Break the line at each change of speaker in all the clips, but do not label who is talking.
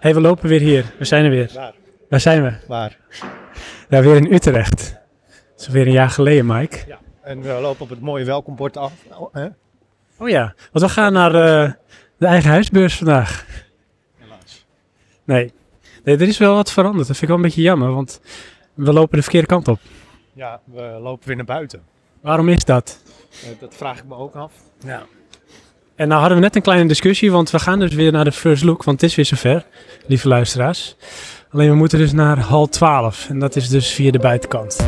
hey, we lopen weer hier. We zijn er weer.
Waar?
Waar zijn we?
Waar?
Daar weer in Utrecht. Dat is weer een jaar geleden, Mike.
Ja. En we lopen op het mooie welkombord af. Oh, hè?
Oh ja, want we gaan naar eh, de eigen huisbeurs vandaag.
Helaas.
Nee. nee, er is wel wat veranderd. Dat vind ik wel een beetje jammer, want we lopen de verkeerde kant op.
Ja, we lopen weer naar buiten.
Waarom is dat?
Eh, dat vraag ik me ook af.
Nou. En nou hadden we net een kleine discussie, want we gaan dus weer naar de first look, want het is weer zover, lieve luisteraars. Alleen we moeten dus naar hal 12 en dat is dus via de buitenkant.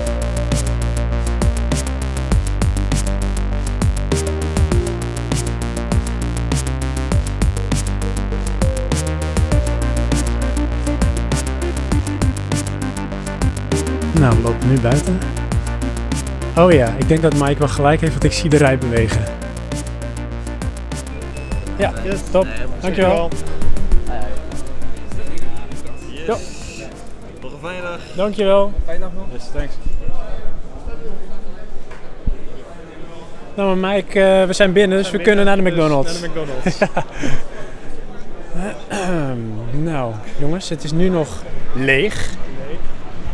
Nou, we lopen nu buiten. Oh ja, ik denk dat Mike wel gelijk heeft, want ik zie de rij bewegen. Ja, top. Dankjewel. Ja.
Nog een fijne dag.
Dankjewel.
Yes, thanks.
Nou, maar Mike, eh, we zijn binnen, dus we kunnen naar de McDonald's.
naar de McDonald's.
nou, jongens, het is nu nog leeg.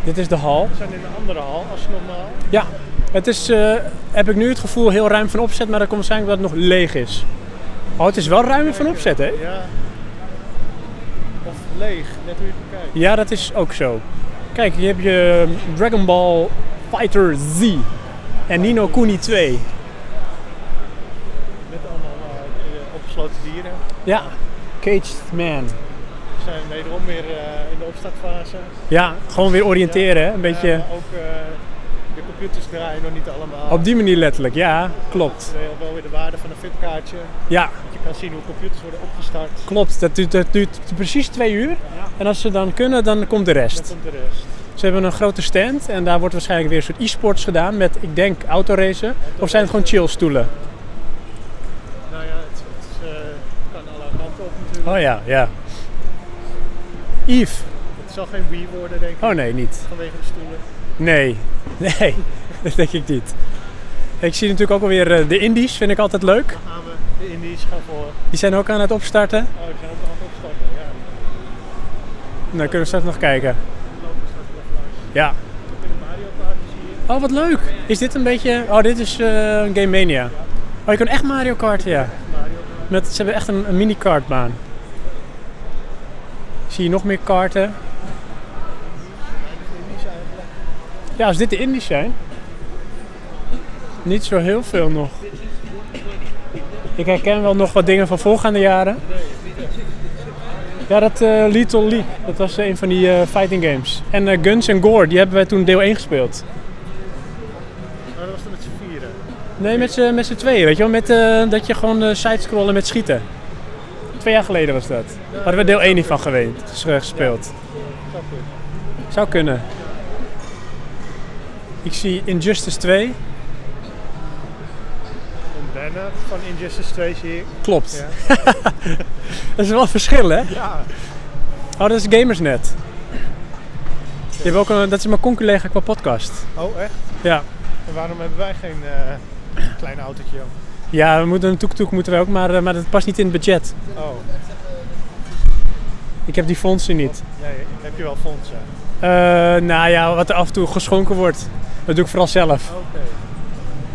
Dit is de hal.
we zijn in een andere hal als normaal.
Ja, het is, eh, heb ik nu het gevoel, heel ruim van opzet, maar dat komt waarschijnlijk omdat het nog leeg is. Oh, het is wel ruim van opzet, hè?
Ja. Of leeg, net hoe je het bekijkt.
Ja, dat is ook zo. Kijk, hier heb je Dragon Ball Fighter Z en Nino Kuni 2.
Met allemaal eh, opgesloten dieren.
Ja, Caged Man.
We zijn wederom weer eh, in de opstartfase.
Ja, gewoon weer oriënteren, hè? Een beetje...
Ja, maar ook eh, de computers draaien nog niet allemaal.
Op die manier letterlijk, ja, klopt.
Wel- Wel weer de waarde van een fitkaartje.
Ja,
Dat je kan zien hoe computers worden opgestart.
klopt. Dat duurt, dat duurt precies twee uur. En als ze dan kunnen, dan komt de
Dan
rest.
komt de rest.
Ze hebben een grote stand en daar wordt waarschijnlijk weer een soort e-sports gedaan met, ik denk, autoracen. Of zijn het gewoon chillstoelen?
Nou ja, het, het, eh, kan alle kanten op natuurlijk.
Oh ja, ja. Yves.
Het zal geen Wii worden, denk ik,
Oh nee, niet.
vanwege de stoelen.
Nee, nee, dat denk ik niet. Ik zie natuurlijk ook alweer eh, de indies, vind ik altijd leuk.
Dan gaan we de Indies gaan voor.
Die zijn ook aan het opstarten.
Oh, die zijn ook nog aan het opstarten. Ja,
Nou, kunnen we straks nog kijken.
die lopen straks nog langs.
Ja.
We kunnen Mario kaartjes hier.
Oh, wat leuk. Is dit een beetje... Oh, dit is eh, Game Mania. Oh, je kan echt Mario Kart, ja.
Mario kaart.
Met, ze hebben echt een, een mini-kartbaan. Zie je nog meer karten.
De Indies eigenlijk.
Ja, als dit de Indies zijn. Niet zo heel veel nog. Ik herken wel nog wat dingen van voorgaande jaren. Ja, dat eh, Little League. Dat was eh, een van die eh, fighting games. En eh, Guns and Gore, die hebben wij toen deel 1 gespeeld.
Maar dat was er met z'n vieren.
Nee, met z'n met z'n tweeën, weet je wel. Met, eh, dat je gewoon eh sidescrollen met schieten. Twee jaar geleden was dat. Hadden we deel 1 niet van geweest, ges- eh, gespeeld.
Zo goed.
Zou kunnen. Ik zie Injustice 2.
Een banner van Injustice 2 zie ik.
Klopt.
Ja.
Dat is wel een verschil, hè?
ja.
Oh, dat is Gamersnet. Die hebben ook een, dat is mijn conculega qua podcast.
Oh, echt?
Ja.
En waarom hebben wij geen eh, klein autootje?
Ja, we moeten een toektoek moeten we ook, maar, eh, maar dat past niet in het budget.
Oh,
Ik heb die fondsen niet.
nee, heb je wel fondsen?
Eh, nou ja, wat er af en toe geschonken wordt, dat doe ik vooral zelf.
Oké.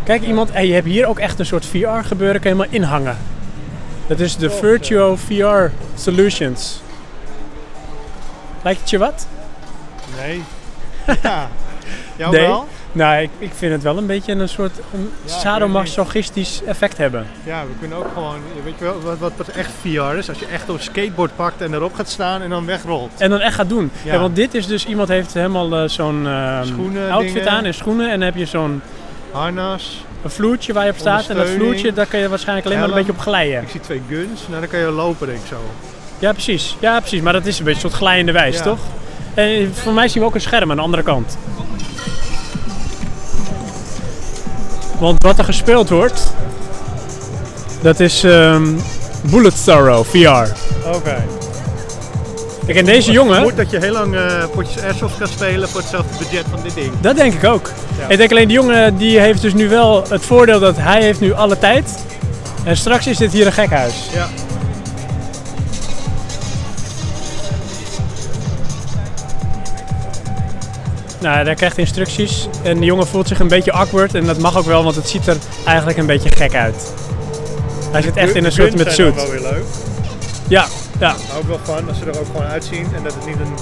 Kijk, iemand, hey, je hebt hier ook echt een soort VR gebeuren, kan je helemaal inhangen. Dat is de
Klopt,
Virtuo VR Solutions. Lijkt het je wat?
Nee. Ja. Jou wel?
Nou, ik, ik vind het wel een beetje een soort een
weet
sadomasochistisch effect hebben.
Ja, we kunnen ook gewoon, weet je wel, wat, wat wat echt VR is, als je echt een skateboard pakt en erop gaat staan en dan wegrolt.
En dan echt gaat doen.
Ja.
Ja, want dit is dus, iemand heeft helemaal eh, zo'n ehm,
Schoenen,
outfit
dingen.
aan en schoenen. En dan heb je zo'n
Harnas,
een vloertje waar je op staat. En dat
Ondersteuning.
vloertje, daar kan je waarschijnlijk alleen maar een
Helm.
beetje op glijden.
ik zie twee guns, nou dan kan je lopen denk ik zo.
Ja, precies. Ja, precies. Maar dat is een beetje een soort glijende wijs,
Ja.
toch? En voor mij zien we ook een scherm aan de andere kant. Want wat er gespeeld wordt, dat is ehm Bullet Sorrow VR.
Oké.
Kijk, en deze jongen...
Goed dat je heel lang eh, potjes Airsoft gaat spelen voor hetzelfde budget van dit ding.
Dat denk ik ook.
Ja.
Ik denk alleen die jongen die heeft dus nu wel het voordeel dat hij heeft nu alle tijd. En straks is dit hier een gekhuis.
Ja.
Nou, hij krijgt instructies en de jongen voelt zich een beetje awkward en dat mag ook wel, want het ziet er eigenlijk een beetje gek uit. Hij zit echt in een soort met
zijn
suit.
ook wel weer leuk.
Ja, ja.
Hou ik wel van, als ze er ook gewoon uitzien. En dat het niet een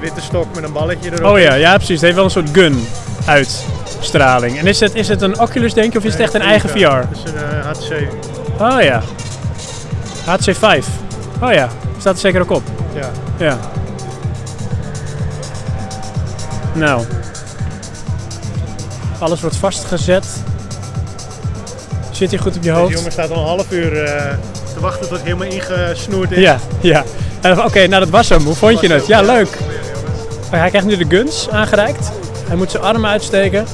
witte stok met een balletje erop
Oh ja, ja precies. Het heeft wel een soort gun uitstraling. En is het, is het een Oculus denk je of is het echt een eigen VR?
Het is een eh, HTC.
Oh ja. HTC 5. Oh ja, staat er zeker ook op.
Ja.
Ja. Nou. Alles wordt vastgezet. Zit hij goed op je
Deze
hoofd?
jongen staat al een half uur eh, te wachten tot hij helemaal ingesnoerd is.
Ja, ja. En dan- Oké, nou dat was hem. Hoe vond je het? Ja, leuk.
Oh ja, jongens.
Hij krijgt nu de guns aangereikt. Hij moet zijn armen uitsteken.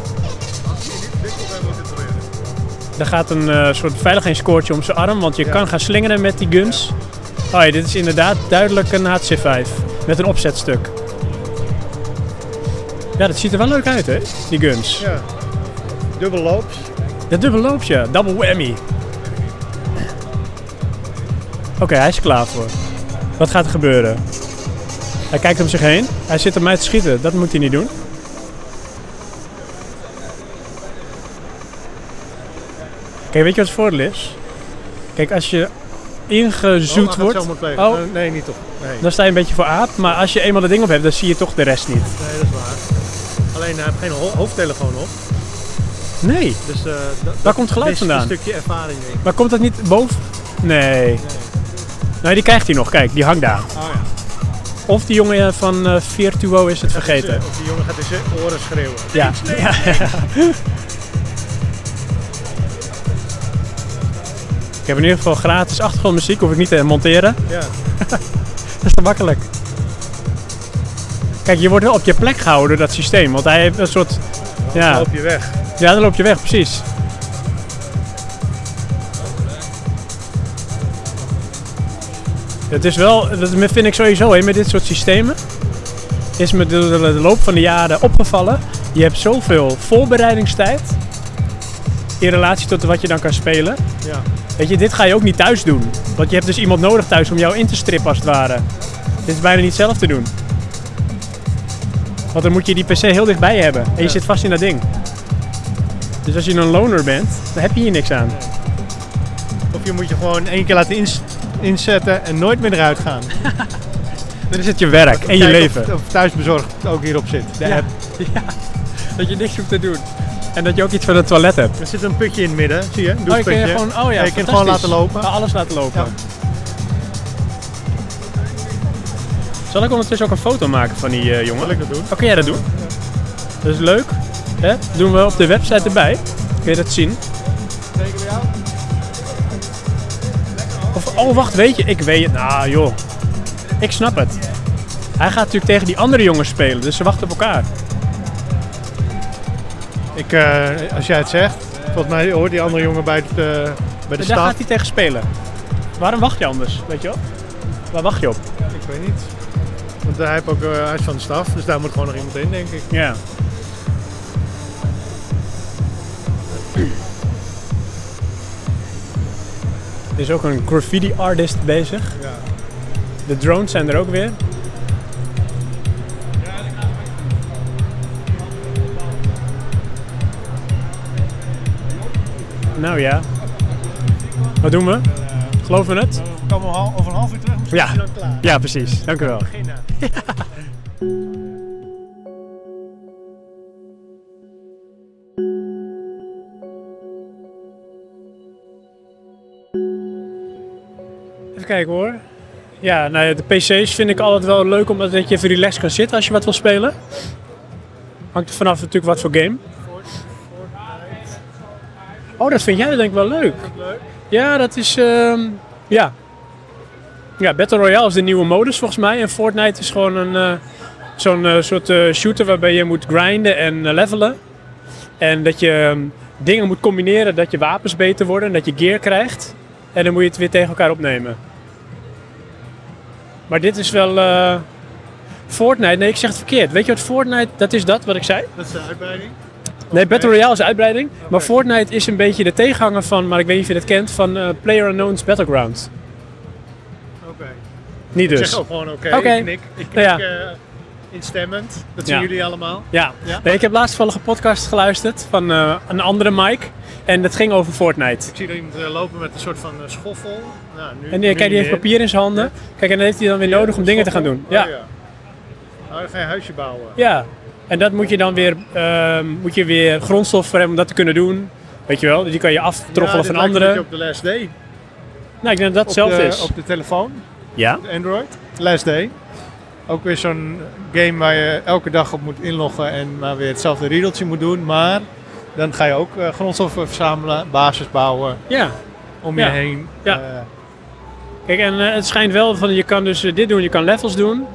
Er gaat een eh, soort veiligheidskoordje om zijn arm, want je
Ja.
kan gaan slingeren met die guns. Oh ja, dit is inderdaad duidelijk een HC5 met een opzetstuk. Ja, dat ziet er wel leuk uit, hè? Die guns.
Ja. Dubbel loops.
Dat dubbelloopje, double whammy. Oké, hij is er klaar voor. Wat gaat er gebeuren? Hij kijkt om zich heen. Hij zit op mij te schieten. Dat moet hij niet doen. Kijk, weet je wat het voordeel is? Kijk, als je
Oh, hij
ingezoet
gaat
wordt,
zomaar plegen.
Oh.
Eh, Nee, niet toch. Nee.
dan sta je een beetje voor aap. Maar als je eenmaal dat ding op hebt, dan zie je toch de rest niet.
nee, dat is waar. Alleen hij heeft geen ho- hoofdtelefoon op.
Nee.
Dus eh, dat- dat
Waar komt geluid
mist
vandaan?
een stukje ervaring in.
Maar komt dat niet boven? Nee. Nee, die krijgt hij nog. Kijk, die hangt daar.
Oh ja.
Of die jongen van eh, Virtuo is het vergeten.
eh, Of die jongen gaat in zijn oren schreeuwen.
Ja. ja. Ik heb in ieder geval gratis achtergrondmuziek, hoef ik niet te monteren.
Ja.
Dat is te makkelijk. Kijk, je wordt wel op je plek gehouden door dat systeem, want hij heeft een soort...
Dan
Ja,
loop je weg.
ja dan loop je weg, precies. Het is wel, dat vind ik sowieso, hè, met dit soort systemen is me door de loop van de jaren opgevallen. Je hebt zoveel voorbereidingstijd in relatie tot wat je dan kan spelen.
Ja.
Weet je, dit ga je ook niet thuis doen. Want je hebt dus iemand nodig thuis om jou in te strippen als het ware. Dit is bijna niet zelf te doen. Want dan moet je die PC heel dichtbij je hebben. En je
Ja.
zit vast in dat ding. Dus als je een loner bent, dan heb je hier niks aan.
Of je moet je gewoon één keer laten ins- inzetten en nooit meer eruit gaan.
Dan is het je werk en je
Kijk
leven.
Of, of thuisbezorgd ook hierop zit. De
Ja.
app.
Ja. Dat je niks hoeft te doen. En dat je ook iets van het toilet hebt.
Er zit een putje in het midden, zie je? Een
Oh, je kan je
doucheputje.
gewoon, oh ja,
je kan
fantastisch.
gewoon laten lopen.
Ja, alles laten lopen.
Ja.
Zal ik ondertussen ook een foto maken van die eh, jongen?
Zal ik dat doen?
Oh, kun jij dat doen? Dat is leuk. Hè? Doen we op de website erbij. Kun je dat zien? Of, oh, wacht, weet je, ik weet het. Nou, joh. Ik snap het. Hij gaat natuurlijk tegen die andere jongens spelen, dus ze wachten op elkaar.
Ik, eh, als jij het zegt, volgens mij hoort die andere jongen bij, het, eh, bij de
Daar gaat
stad.
hij tegen spelen. Waarom wacht je anders, weet je wel? Waar wacht je op?
Ik weet niet. Want hij, heeft ook, eh, hij is van de staf, dus daar moet gewoon nog iemand in, denk ik.
Ja. Er is ook een graffiti artist bezig.
Ja.
De drones zijn er ook weer. Nou ja. Wat doen we? Geloven we het?
We komen over een half uur terug, misschien
Ja. is hij
dan klaar.
Ja, precies. Dank u wel.
Beginnen.
Even kijken hoor. Ja, nou ja, de PC's vind ik altijd wel leuk omdat dat je even relaxed kan zitten als je wat wil spelen. Hangt er vanaf natuurlijk wat voor game. Oh, dat vind jij denk ik wel leuk. Ja, dat is. ehm, ja. Ja, Battle Royale is de nieuwe modus volgens mij. En Fortnite is gewoon een. eh, Zo'n eh, soort eh, shooter waarbij je moet grinden en eh, levelen. En dat je ehm, dingen moet combineren, dat je wapens beter worden en dat je gear krijgt. En dan moet je het weer tegen elkaar opnemen. Maar dit is wel. eh, Fortnite, nee, ik zeg het verkeerd. Weet je wat Fortnite, dat is dat wat ik zei?
Dat is de uitbreiding.
Nee, Battle Royale is een uitbreiding. Maar Fortnite is een beetje de tegenhanger van, maar ik weet niet of je dat kent, van eh PlayerUnknown's Battleground.
Oké.
Niet
Ik zeg
dus.
ook gewoon oké.
Oké.
Ik knik. Ik
Nou ja.
knik, eh, instemmend. Dat zien
Ja.
jullie allemaal.
Ja.
Ja?
Nee, ik heb laatst toevallig een podcast geluisterd van eh, een andere Mike. En dat ging over Fortnite.
Ik zie er iemand eh, lopen met een soort van eh, schoffel. Nou, nu,
En
nu
die, kijk, die
niet
heeft
meer.
papier in zijn handen. Kijk, en dat heeft hij dan weer nodig om dingen te gaan doen.
Oh,
Ja.
ja. Oh, dan ga je huisje bouwen.
ja. En dat moet je dan weer, ehm, moet je weer grondstof voor hebben om dat te kunnen doen. Weet je wel, Dus die kan je aftroggelen
Ja, dit
van
lijkt een
anderen.
beetje op de last day.
Nou, ik denk dat dat
op
hetzelfde
de,
is.
Op de telefoon,
Ja.
de Android. Last day. Ook weer zo'n game waar je elke dag op moet inloggen en maar weer hetzelfde riedeltje moet doen. Maar dan ga je ook eh, grondstoffen verzamelen, basis bouwen
Ja.
om je
Ja.
heen.
Ja.
Eh,
Kijk, en eh, het schijnt wel van je kan dus eh, dit doen, je kan levels doen.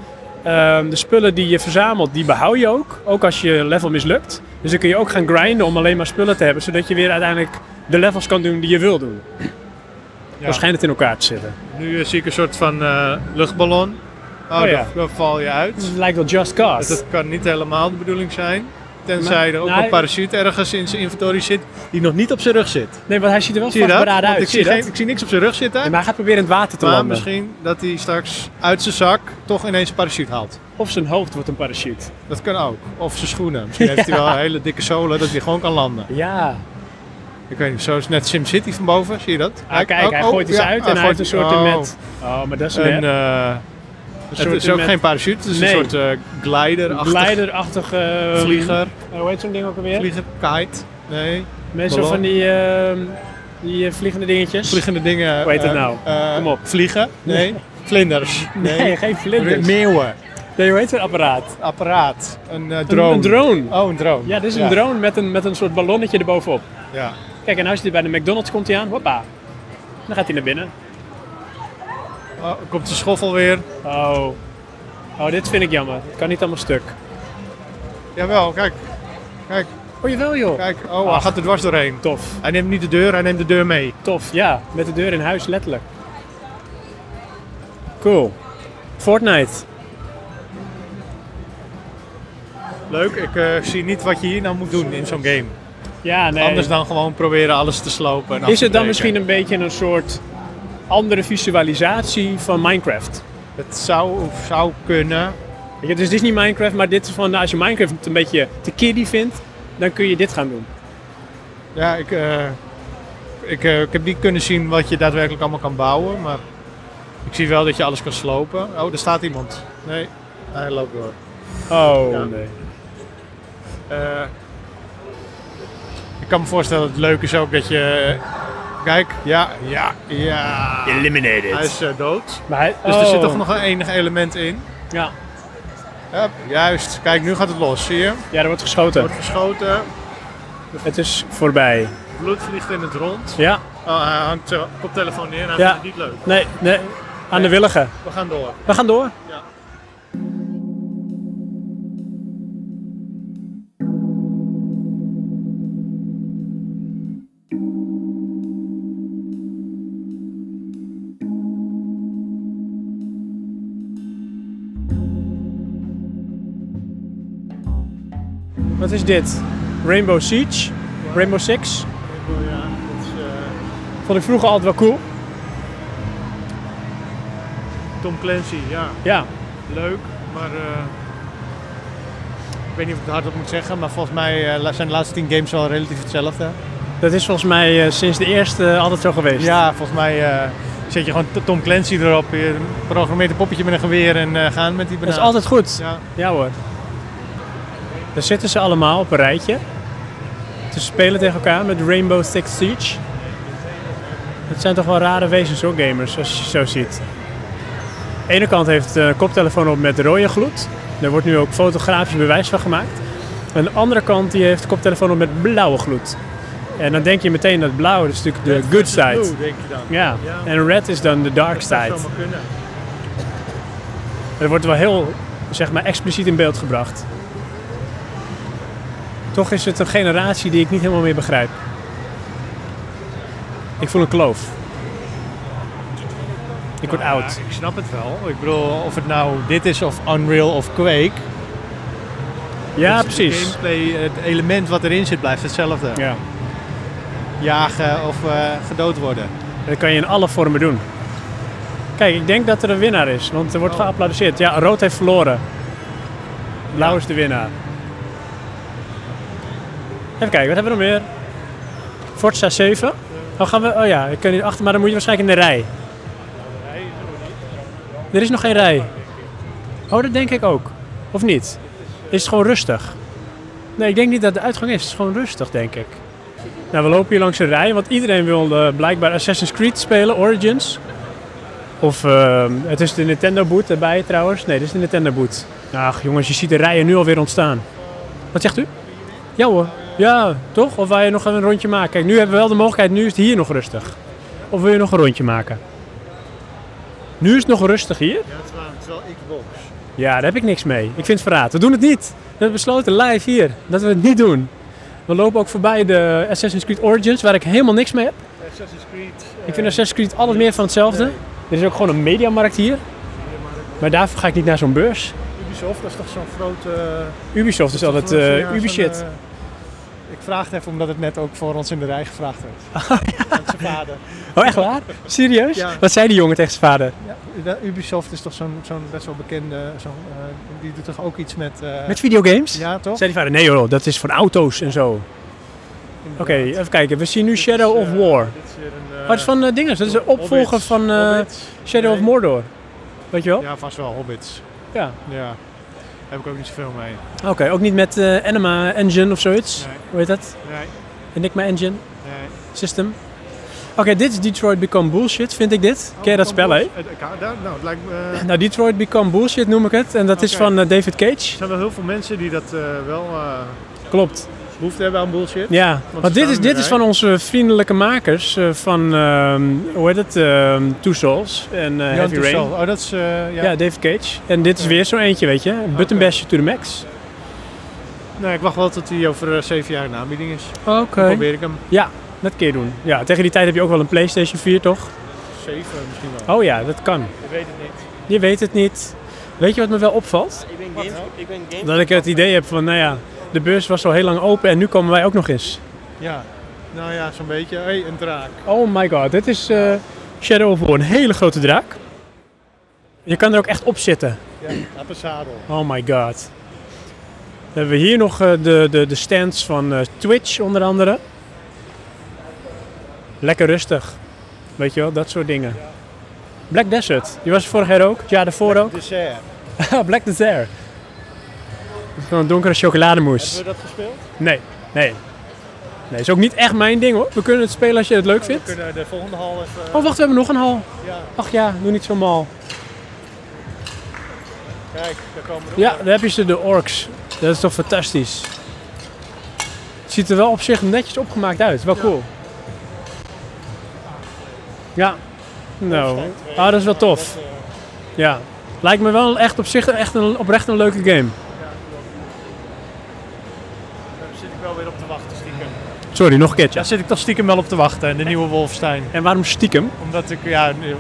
Ehm, de spullen die je verzamelt, die behoud je ook. Ook als je level mislukt. Dus dan kun je ook gaan grinden om alleen maar spullen te hebben. Zodat je weer uiteindelijk de levels kan doen die je wil doen.
Ja.
Waarschijnlijk schijnt het in elkaar te zitten.
nu eh, zie ik een soort van eh, luchtballon.
Oh,
Oh,
ja. Mm.
daar, daar val je uit.
Het lijkt wel Just Cause.
Dat kan niet helemaal de bedoeling zijn. Tenzij er ook
nou,
een parachute ergens in zijn inventory zit die nog niet op zijn rug zit.
Nee, want hij ziet er wel
Zie je dat?
vastberaden
Want
uit.
ik,
Zie je
zie
dat?
geen- ik zie niks op zijn rug zitten.
Nee, maar hij gaat proberen in het water te
maar
landen.
misschien dat hij straks uit zijn zak toch ineens een parachute haalt.
Of zijn hoofd wordt een parachute.
Dat kan ook. Of zijn schoenen. Misschien heeft hij wel een hele dikke zolen dat hij gewoon kan landen.
Ja.
Ik weet niet, zo is net SimCity van boven. Zie je dat?
Ah, kijk, hij
oh,
gooit iets
ja,
uit en hij
gooit-
heeft een soort
oh,
net. Oh, maar dat is een,
Een,
net.
eh, het
soort
is ook
net.
geen parachute, het is
Nee.
een soort eh glider
Leiderachtig. eh,
Vlieger,
eh, hoe heet zo'n ding ook alweer?
vlieger, kite. Nee,
Mensen
Ballon.
van die, ehm, die eh, vliegende dingetjes.
vliegende dingen.
Hoe heet het
eh,
nou?
eh,
Kom op.
Vliegen? Nee. Vlinders?
Nee, geen
Re-
vlinders.
Meeuwen.
Nee, hoe heet zo'n apparaat?
Apparaat. Een eh,
Een-
drone.
Een, drone.
Oh, een drone.
Ja, dit is een drone met een, met een soort ballonnetje erbovenop.
Ja.
Kijk, en als je bij de McDonald's komt hij aan, hoppa. Dan gaat hij naar binnen.
Oh, er komt de schoffel weer.
Oh. Oh, dit vind ik jammer. Het kan niet allemaal stuk.
Jawel, kijk. Kijk,
Oh, jawel joh.
kijk. Oh, hij
Ach.
gaat er dwars doorheen.
Tof.
Hij neemt niet de deur, hij neemt de deur mee.
Tof, ja. Met de deur in huis, letterlijk. Cool. Fortnite.
Leuk, ik eh, zie niet wat je hier nou moet doen in zo'n game.
Ja, nee.
Anders dan gewoon proberen alles te slopen. En af
is
te
het dan
breken.
misschien een beetje een soort andere visualisatie van Minecraft?
Het zou of zou kunnen.
Weet je, dus dit is niet Minecraft, maar dit is van nou, als je Minecraft een beetje te kiddie vindt, dan kun je dit gaan doen.
Ja, ik, eh, ik, eh, ik heb niet kunnen zien wat je daadwerkelijk allemaal kan bouwen, maar ik zie wel dat je alles kan slopen. Oh, daar staat iemand. Nee, hij loopt door.
Oh
Ja.
nee.
Eh, ik kan me voorstellen dat het leuk is ook dat je... Kijk, ja, ja, ja. Hij
Eliminated.
is eh, dood.
Maar hij,
Dus er
oh.
zit toch nog een enig element in.
Ja.
Hup, juist. Kijk, nu gaat het los, zie je?
ja, er wordt geschoten.
Wordt geschoten,
Het is voorbij.
bloed vliegt in het rond.
Ja,
Oh, hij hangt zijn koptelefoon neer en hij
Ja.
vindt het niet leuk.
nee, nee. Aan de willigen.
We gaan door.
We gaan door.
Ja.
Wat is dit? Rainbow Siege? Rainbow Six?
Oh Ja, dat is eh,
Vond ik vroeger altijd wel cool.
Tom Clancy, ja.
Ja.
Leuk, maar... eh, ik weet niet of ik het hardop moet zeggen, maar volgens mij eh, la- zijn de laatste tien games wel relatief hetzelfde.
Dat is volgens mij eh, sinds de eerste eh, altijd zo geweest.
Ja, volgens mij eh, zet je gewoon T- Tom Clancy erop. Je programmeert een poppetje met een geweer en eh, gaan met die
Dat
banaan.
is altijd goed.
Ja,
Ja hoor. Daar zitten ze allemaal op een rijtje. Te spelen tegen elkaar met Rainbow Six Siege. Het zijn toch wel rare wezens hoor, gamers, als je zo ziet. Aan de ene kant heeft de koptelefoon op met rode gloed. Daar wordt nu ook fotografisch bewijs van gemaakt. Aan de andere kant die heeft de koptelefoon op met blauwe gloed. En dan denk je meteen dat blauw, dat is natuurlijk de good side.
Blue, denk je dan.
Ja,
Ja.
en red is dan de dark side.
Dat zou maar kunnen.
Er wordt wel heel zeg maar, expliciet in beeld gebracht. Toch is het een generatie die ik niet helemaal meer begrijp. Ik voel een kloof. Ik word
Nou ja,
oud.
Ik snap het wel. Ik bedoel, of het nou dit is of Unreal of Quake.
Ja,
het is de
precies.
Gameplay, het element wat erin zit blijft hetzelfde.
Ja.
Jagen of eh, gedood worden.
Dat kan je in alle vormen doen. Kijk, ik denk dat er een winnaar is, want er wordt
Oh.
geapplaudisseerd. Ja, rood heeft verloren. Blauw is de winnaar. Even kijken, wat hebben we nog meer? Forza 7. Oh, gaan we, oh ja, ik kan hier achter, maar dan moet je waarschijnlijk in de rij. Er is nog geen rij. Oh, dat denk ik ook. Of niet? Is het gewoon rustig? Nee, ik denk niet dat de uitgang is. Het is gewoon rustig, denk ik. Nou, we lopen hier langs een rij, want iedereen wil eh, blijkbaar Assassin's Creed spelen, Origins. Of ehm, het is de Nintendo boot erbij trouwens. Nee, dit is de Nintendo boot. Ach jongens, je ziet de rijen nu alweer ontstaan. Wat zegt u? Ja hoor. Ja, toch? Of wil je nog een rondje maken? Kijk, nu hebben we wel de mogelijkheid, nu is het hier nog rustig. Of wil je nog een rondje maken? Nu is het nog rustig hier?
Ja, het is wel Xbox.
Ja, daar heb ik niks mee. Ik vind het verraad. We doen het niet. We hebben besloten live hier dat we het niet doen. We lopen ook voorbij de Assassin's Creed Origins, waar ik helemaal niks mee heb.
Assassin's Creed. eh,
Ik vind Assassin's Creed altijd meer van hetzelfde. Er is ook gewoon een mediamarkt hier. Maar daarvoor ga ik niet naar zo'n beurs.
Ubisoft, dat is toch zo'n grote...
Ubisoft is altijd eh Ubi-shit.
ik vraag het even omdat het net ook voor ons in de rij gevraagd werd. Met zijn vader.
Oh, echt waar? Serieus?
eh, Ja.
Wat zei die jongen tegen zijn vader?
Ja, de- Ubisoft is toch zo'n zo'n best wel bekende... zo'n, eh, die doet toch ook iets met... eh,
Met videogames?
ja, toch?
Zei die vader, nee joh, dat is van auto's en zo. Oké,
Inderdaad.
even kijken. We zien nu
Dit
eh, Shadow
is,
of
eh,
War.
dit is weer een, eh,
Maar het is van eh, dinges, dat is de opvolger
Hobbits.
van eh, Oh.
Hobbits.
Shadow of
Nee.
Mordor. Weet je wel?
Ja, vast wel Hobbits.
Ja.
Ja. Heb ik ook niet zoveel mee.
Oké, ook niet met eh, Anima Engine of zoiets.
Nee.
Hoe heet dat?
Nee,
Enigma Engine
nee.
System. Oké, dit is Detroit Become Bullshit, vind ik dit. Ken
Oh,
je dat spel, hè?
Nou, het lijkt me... eh,
Nou, Detroit Become Bullshit noem ik het. En dat is
Oké.
van eh, David Cage.
Er zijn wel heel veel mensen die dat eh, wel eh,
Klopt.
behoefte hebben aan bullshit.
Ja,
Want
want
ze
dit is,
staan in
dit
de
is
rij.
van onze vriendelijke makers eh, van, ehm, hoe heet het, ehm Two Souls en eh,
Jan
Heavy Rain.
Toestel. Oh, dat is... eh,
Ja.
ja.
David Cage. En dit is weer zo eentje, weet je. Een Button
Oké.
Bash to the max.
Nee, Nou, ik wacht wel tot hij over eh, zeven jaar in de aanbieding is.
Oké.
Dan probeer ik hem.
Dat keer doen. Ja, tegen die tijd heb je ook wel een Playstation 4, toch?
Zeven misschien wel.
Oh ja, dat kan.
Ik weet het niet.
Je weet het niet. Weet je wat me wel opvalt?
Ik ben games. Ik ben games.
Dat ik het idee heb van, nou ja, de beurs was al heel lang open en nu komen wij ook nog eens.
Ja. Nou ja, zo'n beetje. Hé, hey, een draak.
Oh my god, dit is eh, Shadow of War, een hele grote draak. Je kan er ook echt op zitten.
Ja, op een zadel.
Oh my god. Dan hebben we hier nog eh, de, de, de stands van eh, Twitch onder andere. Lekker rustig. Weet je wel, dat soort dingen. Black Desert, die was er vorig jaar ook, het jaar daarvoor ook. Ah,
Dessert.
Black Desert. Dat is gewoon een donkere chocolademousse.
Hebben we dat gespeeld?
Nee, nee. Nee, is ook niet echt mijn ding hoor. We kunnen het spelen als je het leuk
We
vindt.
kunnen de volgende hal even... eh,
Oh wacht, we hebben nog een hal.
Ja,
Ach ja, doe niet zo mal.
kijk, daar komen we
Ja, daar heb je ze, de orks. Dat is toch fantastisch. Het ziet er wel op zich netjes opgemaakt uit. Wel cool. Ja. Nou, ah, dat is wel tof. Ja. Lijkt me wel echt op zich echt een, oprecht een leuke game.
Daar zit ik wel weer op te wachten, stiekem.
Sorry, nog een keertje.
Daar zit ik toch stiekem wel op te wachten, de nieuwe Wolfstein.
En waarom stiekem?
Omdat ik, ja, nu-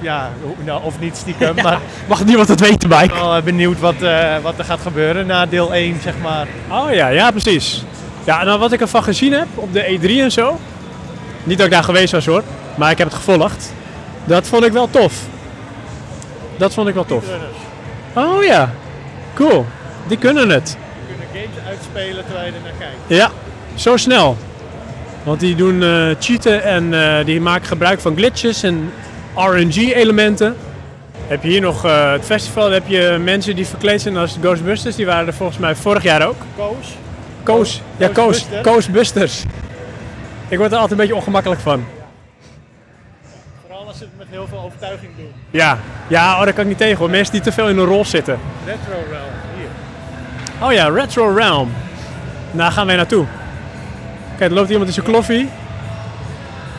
ja nou, of niet stiekem, maar
Mag niemand het weten, Mike?
wel eh, benieuwd wat, eh, wat er gaat gebeuren na deel 1, zeg maar.
Oh ja, ja precies. Ja, nou wat ik ervan gezien heb op de E3 en zo. Niet dat ik daar geweest was hoor, maar ik heb het gevolgd. Dat vond ik wel tof. Dat vond ik wel tof. Oh ja, cool. Die kunnen het.
We kunnen games uitspelen terwijl je er naar kijkt.
Ja, zo snel. Want die doen eh, cheaten en eh, die maken gebruik van glitches en RNG-elementen. Heb je hier nog eh, het festival, dan heb je mensen die verkleed zijn als Ghostbusters. Die waren er volgens mij vorig jaar ook.
Koos,
Koos. Ja, Koos.
Ghostbusters.
Koosbusters. Ik word er altijd een beetje ongemakkelijk van.
vooral als ze het met heel veel overtuiging doen.
Ja. Ja, oh, daar kan ik niet tegen hoor. Mensen die te veel in een rol zitten.
Retro Realm, hier.
Oh ja, Retro Realm. Daar gaan wij naartoe. Kijk, er loopt iemand in zijn kloffie.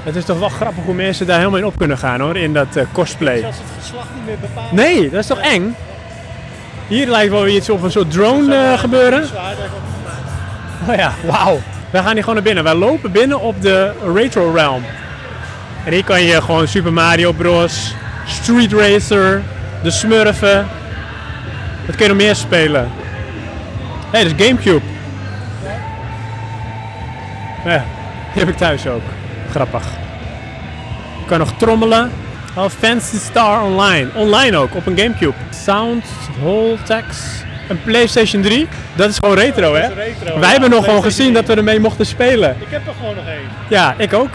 Het is toch wel grappig hoe mensen daar helemaal in op kunnen gaan hoor, in dat eh, cosplay.
Zelfs het geslacht niet meer bepaald.
Nee, dat is toch eng? Hier lijkt wel weer iets op een soort drone eh, gebeuren. Oh ja, wauw. Wij gaan hier gewoon naar binnen. Wij lopen binnen op de Retro Realm. En hier kan je gewoon Super Mario Bros, Street Racer, de Smurfen. Wat kun je nog meer spelen? Hé, hey, dat is Gamecube. Ja, die heb ik thuis ook. Grappig. Je kan nog trommelen. Oh, Fancy Star Online. Online ook, op een Gamecube. Sound, Hole Text. een PlayStation 3, dat is gewoon retro, hè?
Retro,
Wij
ja,
hebben nog gewoon
PlayStation
gezien dat we ermee mochten spelen.
Ik heb er gewoon nog één.
Ja, ik ook.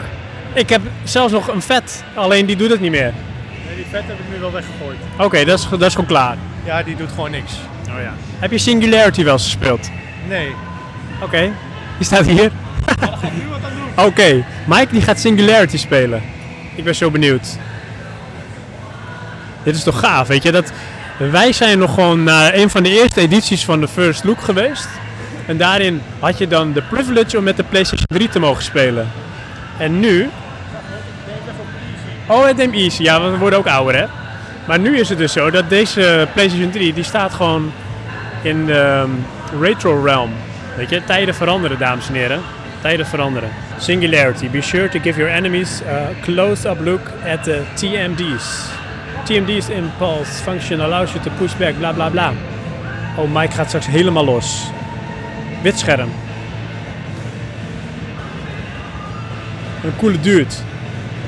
Ik heb zelfs nog een vet, alleen die doet het niet meer.
Nee, die vet heb ik nu wel weggegooid.
Oké, dat, is, dat is gewoon klaar.
Ja, die doet gewoon niks.
Oh, ja. Heb je Singularity wel eens gespeeld?
Nee.
Oké, die staat hier.
Nu wat aan doen.
Oké, Mike die gaat Singularity spelen. Ik ben zo benieuwd. Dit is toch gaaf, weet je? Dat, wij zijn nog gewoon naar een van de eerste edities van de First Look geweest. En daarin had je dan de privilege om met de PlayStation 3 te mogen spelen. En nu... Oh, het neemt easy. Ja, want we worden ook ouder, hè? Maar nu is het dus zo dat deze PlayStation 3, die staat gewoon in de ehm, retro realm. Weet je, tijden veranderen, dames en heren. Tijden veranderen. Singularity. Be sure to give your enemies a close-up look at the TMD's. TMD's impulse function allows you to push back, bla bla bla. Oh, Mike gaat straks helemaal los. Wit scherm. Een coole dude.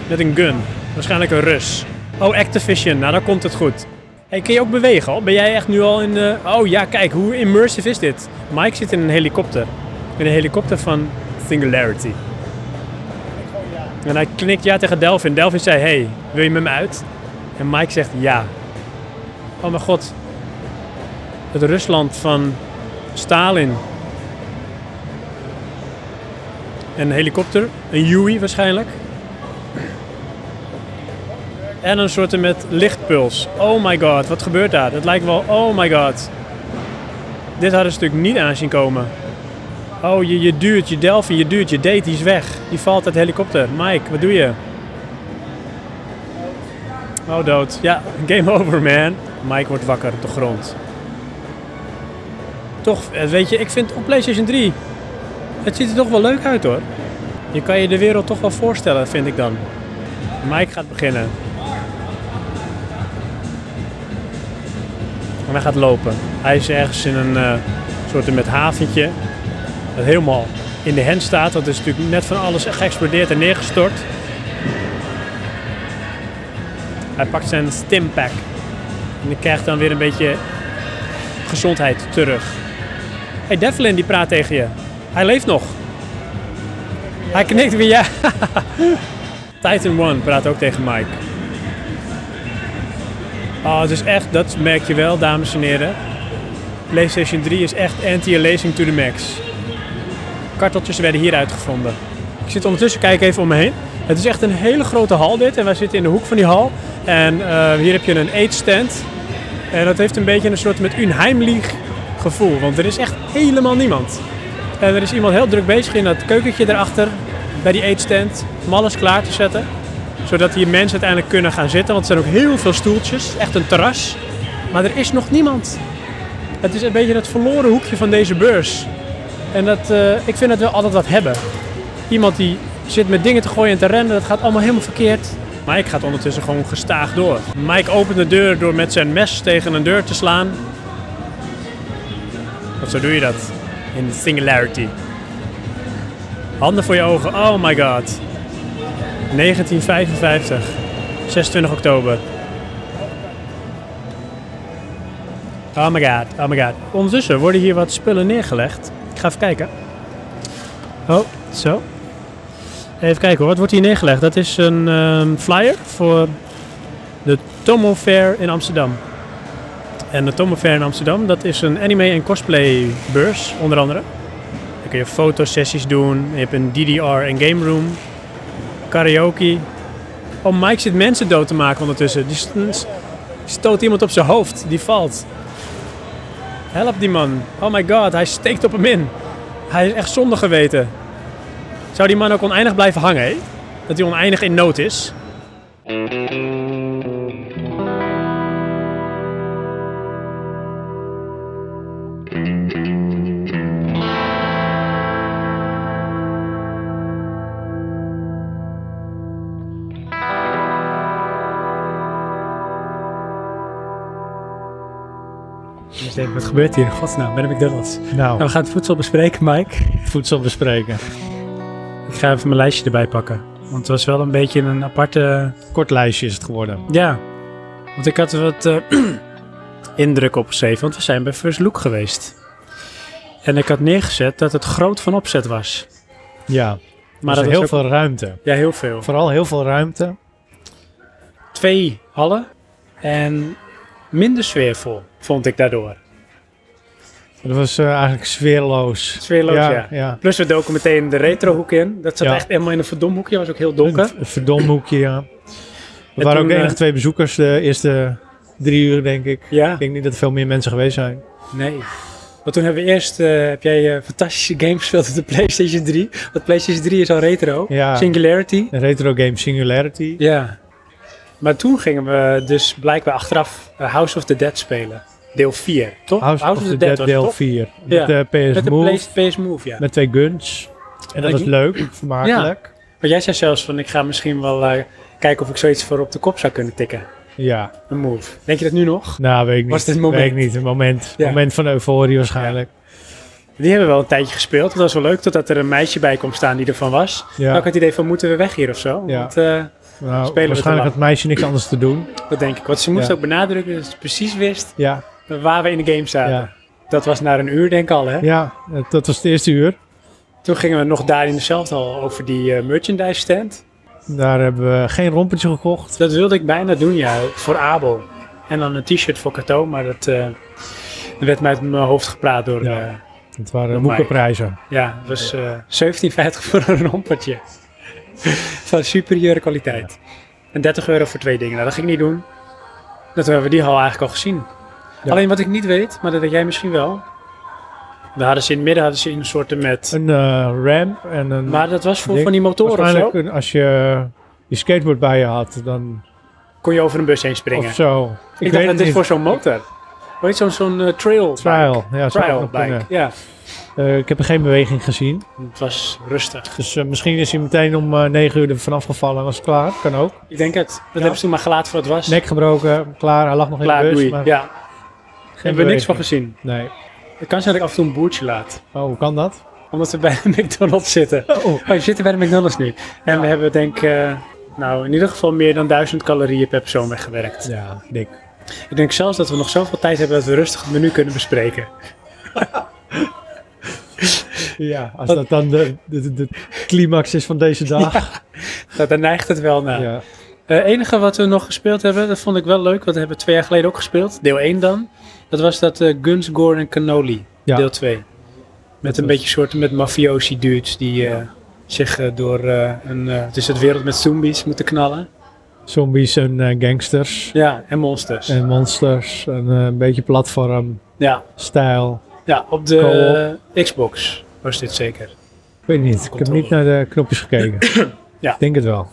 Met een gun. Waarschijnlijk een Rus. Oh, Activision. Nou, dan komt het goed. Hey, kun je ook bewegen al? Ben jij echt nu al in de... Oh ja, kijk, hoe immersive is dit? Mike zit in een helikopter. In een helikopter van Singularity. En hij knikt ja tegen Delvin. Delvin zei, hey, wil je met me uit? En Mike zegt ja. Oh mijn god. Het Rusland van Stalin. En een helikopter. Een Yui waarschijnlijk. En een soort met lichtpuls. Oh my god, wat gebeurt daar? Dat lijkt wel, oh my god. Dit hadden ze natuurlijk niet aan zien komen. Oh, je, je duurt, je Delphi, je duurt, je date, die is weg. Die valt uit de helikopter. Mike, wat doe je? Oh, dood. Ja, game over, man. Mike wordt wakker op de grond. Toch, eh, weet je, ik vind op PlayStation 3... Het ziet er toch wel leuk uit, hoor. Je kan je de wereld toch wel voorstellen, vind ik dan. Mike gaat beginnen. En hij gaat lopen. Hij is ergens in een eh soort met haventje. Dat helemaal in de hen staat. Dat is natuurlijk net van alles geëxplodeerd en neergestort. Hij pakt zijn stimpack. En hij krijgt dan weer een beetje gezondheid terug. Hey Devlin die praat tegen je. Hij leeft nog. Hij knikt weer ja. Titan One praat ook tegen Mike. Oh, het is echt, dat merk je wel, dames en heren. PlayStation 3 is echt anti-aliasing to the max. Karteltjes werden hier uitgevonden. Ik zit ondertussen, kijk even om me heen. Het is echt een hele grote hal dit. En wij zitten in de hoek van die hal. En eh, hier heb je een eetstand. En dat heeft een beetje een soort met unheimlich gevoel. Want er is echt helemaal niemand. En er is iemand heel druk bezig in dat keukentje daarachter. Bij die eetstand. Om alles klaar te zetten. Zodat hier mensen uiteindelijk kunnen gaan zitten. Want er zijn ook heel veel stoeltjes. Echt een terras. Maar er is nog niemand. Het is een beetje het verloren hoekje van deze beurs. En dat, eh, ik vind dat we altijd wat hebben. Iemand die zit met dingen te gooien en te rennen, dat gaat allemaal helemaal verkeerd. Mike gaat ondertussen gewoon gestaag door. Mike opent de deur door met zijn mes tegen een deur te slaan. Want zo doe je dat in Singularity. Handen voor je ogen, oh my god. 1955, 26 oktober. Oh my god, oh my god. Ondertussen worden hier wat spullen neergelegd. Ik ga even kijken. Oh, zo. Even kijken hoor, wat wordt hier neergelegd? Dat is een ehm, flyer voor de Tomo Fair in Amsterdam. En de Tomo Fair in Amsterdam, dat is een anime- en cosplaybeurs, onder andere. Dan kun je fotosessies doen, je hebt een DDR en game room, karaoke. Oh, Mike zit mensen dood te maken ondertussen. Die st- stoot iemand op zijn hoofd, die valt. Help die man. Oh my god, hij steekt op hem in. Hij is echt zonde geweten. Zou die man ook oneindig blijven hangen, hè? Dat hij oneindig in nood is. Wat gebeurt hier? Godsnaam, ben ik Douglas.
Nou,
Nou, we gaan het voedsel bespreken, Mike.
voedsel bespreken.
Ik ga even mijn lijstje erbij pakken. Want het was wel een beetje een aparte...
Kort lijstje is het geworden.
Ja, want ik had wat... eh, indruk opgeschreven, want we zijn bij First Look geweest. En ik had neergezet dat het groot van opzet was.
Ja,
Maar
maar er
dat
is
was
heel
ook-
veel ruimte.
Ja, heel veel.
Vooral heel veel ruimte.
Twee hallen en minder sfeervol, vond ik daardoor.
Dat was eh, eigenlijk sfeerloos.
Sfeerloos, ja.
ja.
Plus we doken meteen de retrohoek in. Dat zat
Ja.
echt helemaal in een verdomhoekje, was ook heel donker.
Een v- verdomhoekje, ja.
En
We waren
toen,
ook de
eh,
enige twee bezoekers de eerste drie uur, denk ik.
Ja,
Ik denk niet dat er veel meer mensen geweest zijn.
nee. Want toen hebben we eerst, eh, heb jij eh, fantastische games gespeeld op de PlayStation 3. Want PlayStation 3 is al retro.
Ja.
Singularity.
Een retro game Singularity.
Ja. Maar toen gingen we dus blijkbaar achteraf eh, House of the Dead spelen. Deel 4, toch?
House, of the Dead
was
deel
toch?
4.
Ja.
Met de PS
Met de
Move,
Play- PS Move, ja.
met twee guns. En dat
Ik-
was leuk, vermakelijk.
Maar jij zei zelfs van, ik ga misschien wel eh, kijken of ik zoiets voor op de kop zou kunnen tikken.
Ja.
Een move. Denk je dat nu nog?
nou weet ik niet.
Was dit een moment?
Weet ik niet, een moment.
Ja.
moment van euforie waarschijnlijk.
Die hebben we wel een tijdje gespeeld. Dat was wel leuk, totdat er een meisje bij kon staan die ervan was.
Ja.
Dan had ik het idee van, moeten we weg hier of zo?
Ja.
Want eh, Spelen
Nou,
we te lang.
waarschijnlijk had het meisje niks anders te doen.
dat denk ik. Want ze moest
Ja.
ook benadrukken dat ze precies wist
Ja,
waar we in de game zaten.
ja.
Dat was na een uur denk ik al, hè?
ja dat- dat was het eerste uur.
Toen gingen we nog daar in dezelfde al over die eh, merchandise stand.
Daar hebben we geen rompertje gekocht.
Dat wilde ik bijna doen, ja, voor Abel. En dan een t-shirt voor Cato, maar dat eh, dat werd mij uit mijn hoofd gepraat door...
Ja.
Ja,
Het waren
Door mij.
boekenprijzen.
ja het was eh 17,50 voor een rompertje. Van superieure kwaliteit. En 30 euro voor twee dingen. Nou, dat ging ik niet doen. Dat hebben we die hal eigenlijk al gezien.
Ja.
Alleen wat ik niet weet, maar dat weet jij misschien wel. We hadden ze in het midden hadden ze een soort met...
Een eh, ramp en een...
Maar dat was voor
Ik
van die motoren of zo.
waarschijnlijk een- als je je skateboard bij je had, dan...
Kon je over een bus heen springen.
eh, Of zo.
Ik, dacht, dat
het
dit
niet.
voor zo'n motor. Weet je, zo'n zo'n eh, trail.
Trial. Ja, zou
Trial
nog
bike,
kunnen.
ja.
Eh, ik heb er geen beweging gezien.
Het was rustig.
Dus eh, misschien is hij meteen om eh 9 uur er vanaf gevallen en was het klaar. Kan ook.
Ik denk het. Dat hebben ze toen maar gelaten voor het was.
Nek gebroken, klaar. Hij lag nog
Klaar,
in de bus.
doei.
Maar
ja. Hebben we niks van gezien.
gezien. Nee.
Het kan zijn dat ik af en toe een boertje laat.
Oh, hoe kan dat?
Omdat we bij de McDonald's zitten.
Oh.
Oh, we zitten bij de McDonald's nu. En we hebben denk ik... eh, nou, in ieder geval meer dan duizend calorieën per persoon weggewerkt.
Ja, dik.
Ik denk zelfs dat we nog zoveel tijd hebben dat we rustig het menu kunnen bespreken.
Ja, als dat dan de, de, de climax is van deze dag.
Nou, Daar neigt het wel naar. Eh,
Ja.
Het enige wat we nog gespeeld hebben, dat vond ik wel leuk. Want dat hebben we twee jaar geleden ook gespeeld. Deel 1 dan. Dat was dat eh, Guns, Gore en Cannoli.
Ja.
Deel 2. Met een
was-
beetje soorten met mafiosi dudes die eh, zich eh, door eh, een, eh, het is het wereld met zombies moeten knallen.
Zombies en eh, gangsters.
Ja, en monsters.
En monsters. En eh, een beetje platform.
Ja,
Stijl.
ja op de eh, Xbox was dit zeker.
Ik weet niet. Ik heb
Controle.
niet naar de knopjes gekeken.
Ja.
Ik denk het wel.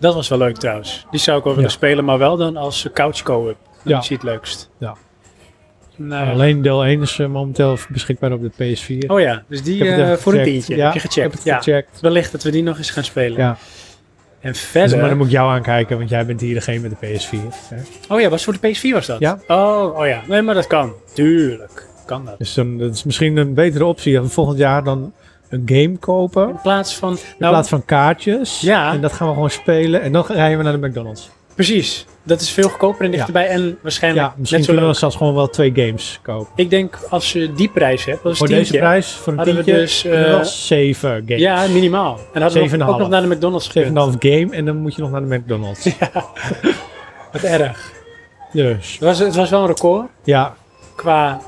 Dat was wel leuk trouwens. Die zou ik wel willen
Ja.
spelen, maar wel dan als eh, couch co-op. Dat
Ja.
is het leukst.
Ja.
Nou,
Alleen deel 1 is eh, momenteel beschikbaar op de PS4.
Oh ja, dus die
Ik heb het
eh,
even
voor een
gecheckt.
tientje heb
Ja,
je
Ik heb
gecheckt.
het
Ja.
gecheckt.
Wellicht dat we die nog eens gaan spelen.
Ja.
En
Dus,
verder...
maar dan moet ik jou aankijken, want jij bent hier degene met de PS4. Hè?
Oh ja, was voor de PS4 was dat?
Ja.
Oh, oh ja. Nee, maar dat kan. Tuurlijk. Kan dat.
Dus dan, dat is misschien een betere optie dan volgend jaar dan een game kopen.
In plaats van...
In
Nou,
plaats van kaartjes.
Ja.
En dat gaan we gewoon spelen. En dan rijden we naar de McDonald's.
precies. Dat is veel goedkoper en dichterbij en waarschijnlijk
Ja, misschien
net zo
kunnen we
leuk.
dan zelfs gewoon wel twee games kopen.
Ik denk als je die prijs hebt, dat is
Voor
tientje,
deze prijs, voor een
hadden we
tientje,
dus, eh,
kunnen we wel zeven games.
Ja, minimaal. En hadden we
Zeven
nog-
en
ook
een
nog
half.
naar de McDonald's gekund.
Zeven en een half game en dan moet je nog naar de McDonald's.
Wat erg.
dus,
Het was, het was wel een record
ja,
qua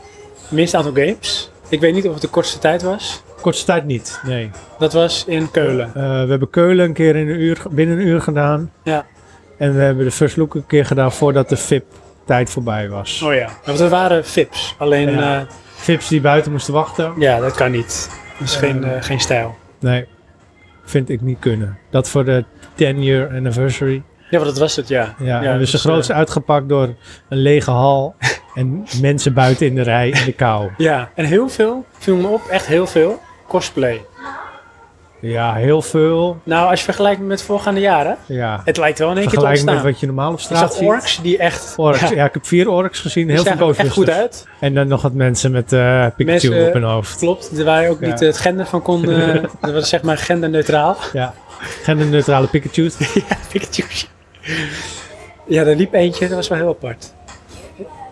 minst aantal games. Ik weet niet of het de kortste tijd was.
kortste tijd niet, nee.
Dat was in Keulen.
Eh, we hebben Keulen een keer in een uur, binnen een uur gedaan.
Ja.
En we hebben de first look een keer gedaan voordat de VIP-tijd voorbij was.
Oh ja. Want we waren fips. Alleen, ja,
Ja. VIPs die buiten moesten wachten,
ja dat kan niet. Dat is geen, eh, geen stijl.
nee, vind ik niet kunnen. Dat voor de 10-year anniversary.
Ja, want dat was het, ja.
Ja, dus
dat
hebben ze
is,
groots
eh,
uitgepakt door een lege hal en mensen buiten in de rij in de kou.
ja, en heel veel, viel me op, echt heel veel, cosplay.
Ja, heel veel.
Nou, als je vergelijkt met voorgaande jaren,
Ja,
het lijkt wel in één keer te
vergelijk
ontstaan.
met wat je normaal op
ik
straat
zag
ziet.
orks die echt...
Orks.
ja,
Ja, ik heb vier orks gezien,
die
heel veel
zagen er echt goed
Ghostbusters.
uit.
En dan nog wat mensen met eh Pikachu
Mensen,
op hun hoofd.
Klopt, waar je ook
Ja.
niet het gender van kon... eh, dat was zeg maar genderneutraal.
Ja, genderneutrale Pikachu.
Pikachu. Ja, er liep eentje, dat was wel heel apart.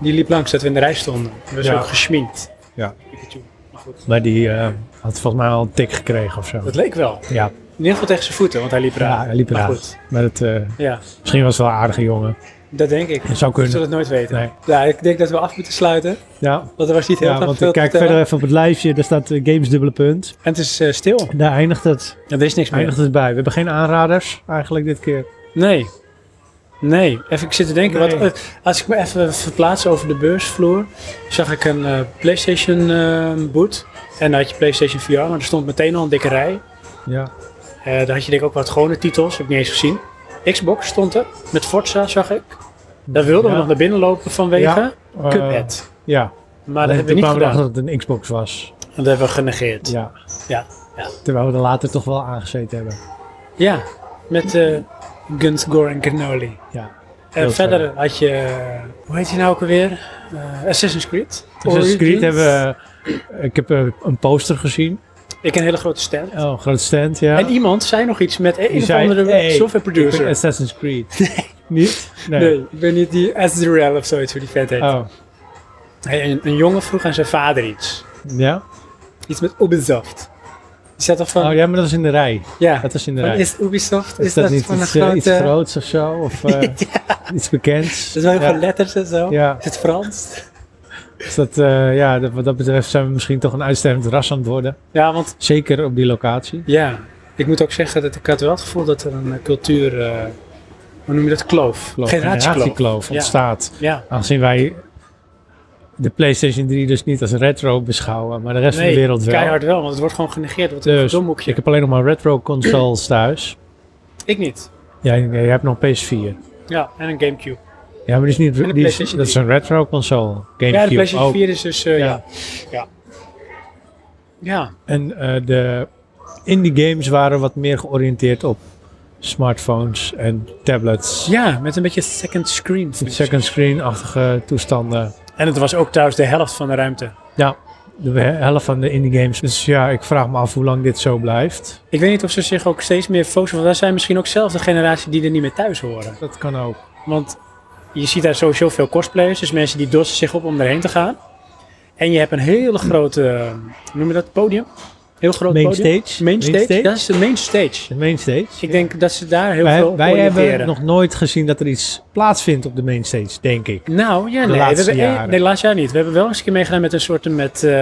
Die liep langs dat we in de rij stonden. We zijn
Ja.
ook geschminkt.
Ja.
Pikachu. Maar goed,
Maar die eh, had volgens mij al een tik gekregen of zo.
dat leek wel.
Ja,
In ieder geval tegen zijn voeten, want hij liep raar.
ja, hij liep
Maar
eraan.
goed,
Maar het, eh,
ja,
misschien was het wel een aardige jongen.
dat denk ik. We
Het
zullen
zou kunnen.
het nooit weten.
Nee.
Ja, ik denk dat we af moeten sluiten.
Ja,
Want er was niet heel
ja
erg
want
veel
ik
te
kijk
vertellen.
verder even op het lijstje. Daar staat eh, Games dubbele punt.
En het is eh, stil.
Daar eindigt het,
Er is niks meer.
eindigt het bij. We hebben geen aanraders eigenlijk dit keer.
Nee. Nee, even ik zit te denken.
Nee.
Wat, eh, als ik me even verplaats over de beursvloer, zag ik een eh, PlayStation eh, boot. En dan had je PlayStation VR, maar er stond meteen al een dikke rij.
Ja,
Eh, daar had je denk ik ook wat gewone titels, heb ik niet eens gezien. Xbox stond er, met Forza zag ik. Daar wilden
Ja.
we nog naar binnen lopen vanwege
Ja. eh,
Cuphead.
ja,
Maar Ah, dat
Alleen
hebben we
toen
niet
kwamen we
gedaan.
erachter dat het een Xbox was.
Dat hebben we genegeerd. Ja, Ja,
Ja.
ja.
Terwijl we er later toch wel aangezeten hebben.
met eh Guns, Gore en Cannoli.
Ja.
En
Heel
verder had je, eh, hoe heet die nou ook alweer? Eh, Assassin's Creed.
Assassin's Creed
Origins.
hebben we... Ik heb eh, een poster gezien.
Ik een hele grote stand.
Oh, een groot stand, ja.
En iemand zei nog iets met een
Die
of
zei,
andere
"Hey,
software
Ik
producer.
ben Assassin's Creed. Niet? Nee.
Nee, ik ben niet die Azrael of zoiets hoe die vet heet.
Oh,
Hey, een, een jongen vroeg aan zijn vader iets.
ja?
Iets met Ubisoft. Die zei toch van,
Oh ja, maar dat is in de rij.
ja,
Dat is in de
van,
rij.
is Ubisoft,
Is,
is,
dat, niet
van
iets,
een
eh,
grote...
iets groots of zo? Of eh, iets bekends?
dat is wel heel
ja.
veel letters en zo.
Ja,
Is het Frans?
dus dat, eh, ja dat, wat dat betreft zijn we misschien toch een uitstervend ras aan het worden.
Ja, want
Zeker op die locatie.
ja, ik moet ook zeggen dat ik had wel het gevoel dat er een eh, cultuur, eh, hoe noem je dat, kloof.
Kloof,
Generatiekloof.
generatiekloof
Ja.
ontstaat.
Ja,
Aangezien wij de PlayStation 3 dus niet als retro beschouwen, maar de rest van
nee,
de wereld wel.
keihard wel, want het wordt gewoon genegeerd. Wat een
Dus
dom hoekje.
ik
Ik,
heb alleen nog maar retro consoles thuis.
niet.
Jij, jij hebt nog PS4.
Ja, en een Gamecube.
Ja, maar die is niet,
En de
die is,
PlayStation
dat is een retro console. Gamecube
ja, de PlayStation
ook.
4 is dus, eh,
Ja.
ja. Ja. ja.
En eh, de indie games waren wat meer georiënteerd op smartphones en tablets.
Ja, met een beetje second screen.
Second screen-achtige toestanden.
En het was ook trouwens de helft van de ruimte.
De he- helft van de indie games. Dus ja, ik vraag me af hoe lang dit zo blijft.
Ik weet niet of ze zich ook steeds meer focussen, want wij zijn misschien ook zelf de generatie die er niet meer thuis horen.
Dat kan ook.
Want je ziet daar sowieso veel cosplayers, dus mensen die dossen zich op om erheen te gaan. En je hebt een hele grote, eh, hoe noem je dat, podium? Heel groot
Main
podium.
stage.
Main stage. Dat is de main stage. Dus
De main stage.
Ik denk dat ze daar heel
Wij,
veel
wij
op
hebben
oriënteren.
nog nooit gezien dat er iets plaatsvindt op de main stage, denk ik.
Nou, ja, nee.
laatste
we hebben,
jaren.
Nee, laatst jaar niet. We hebben wel eens een keer meegedaan met een soort met, eh,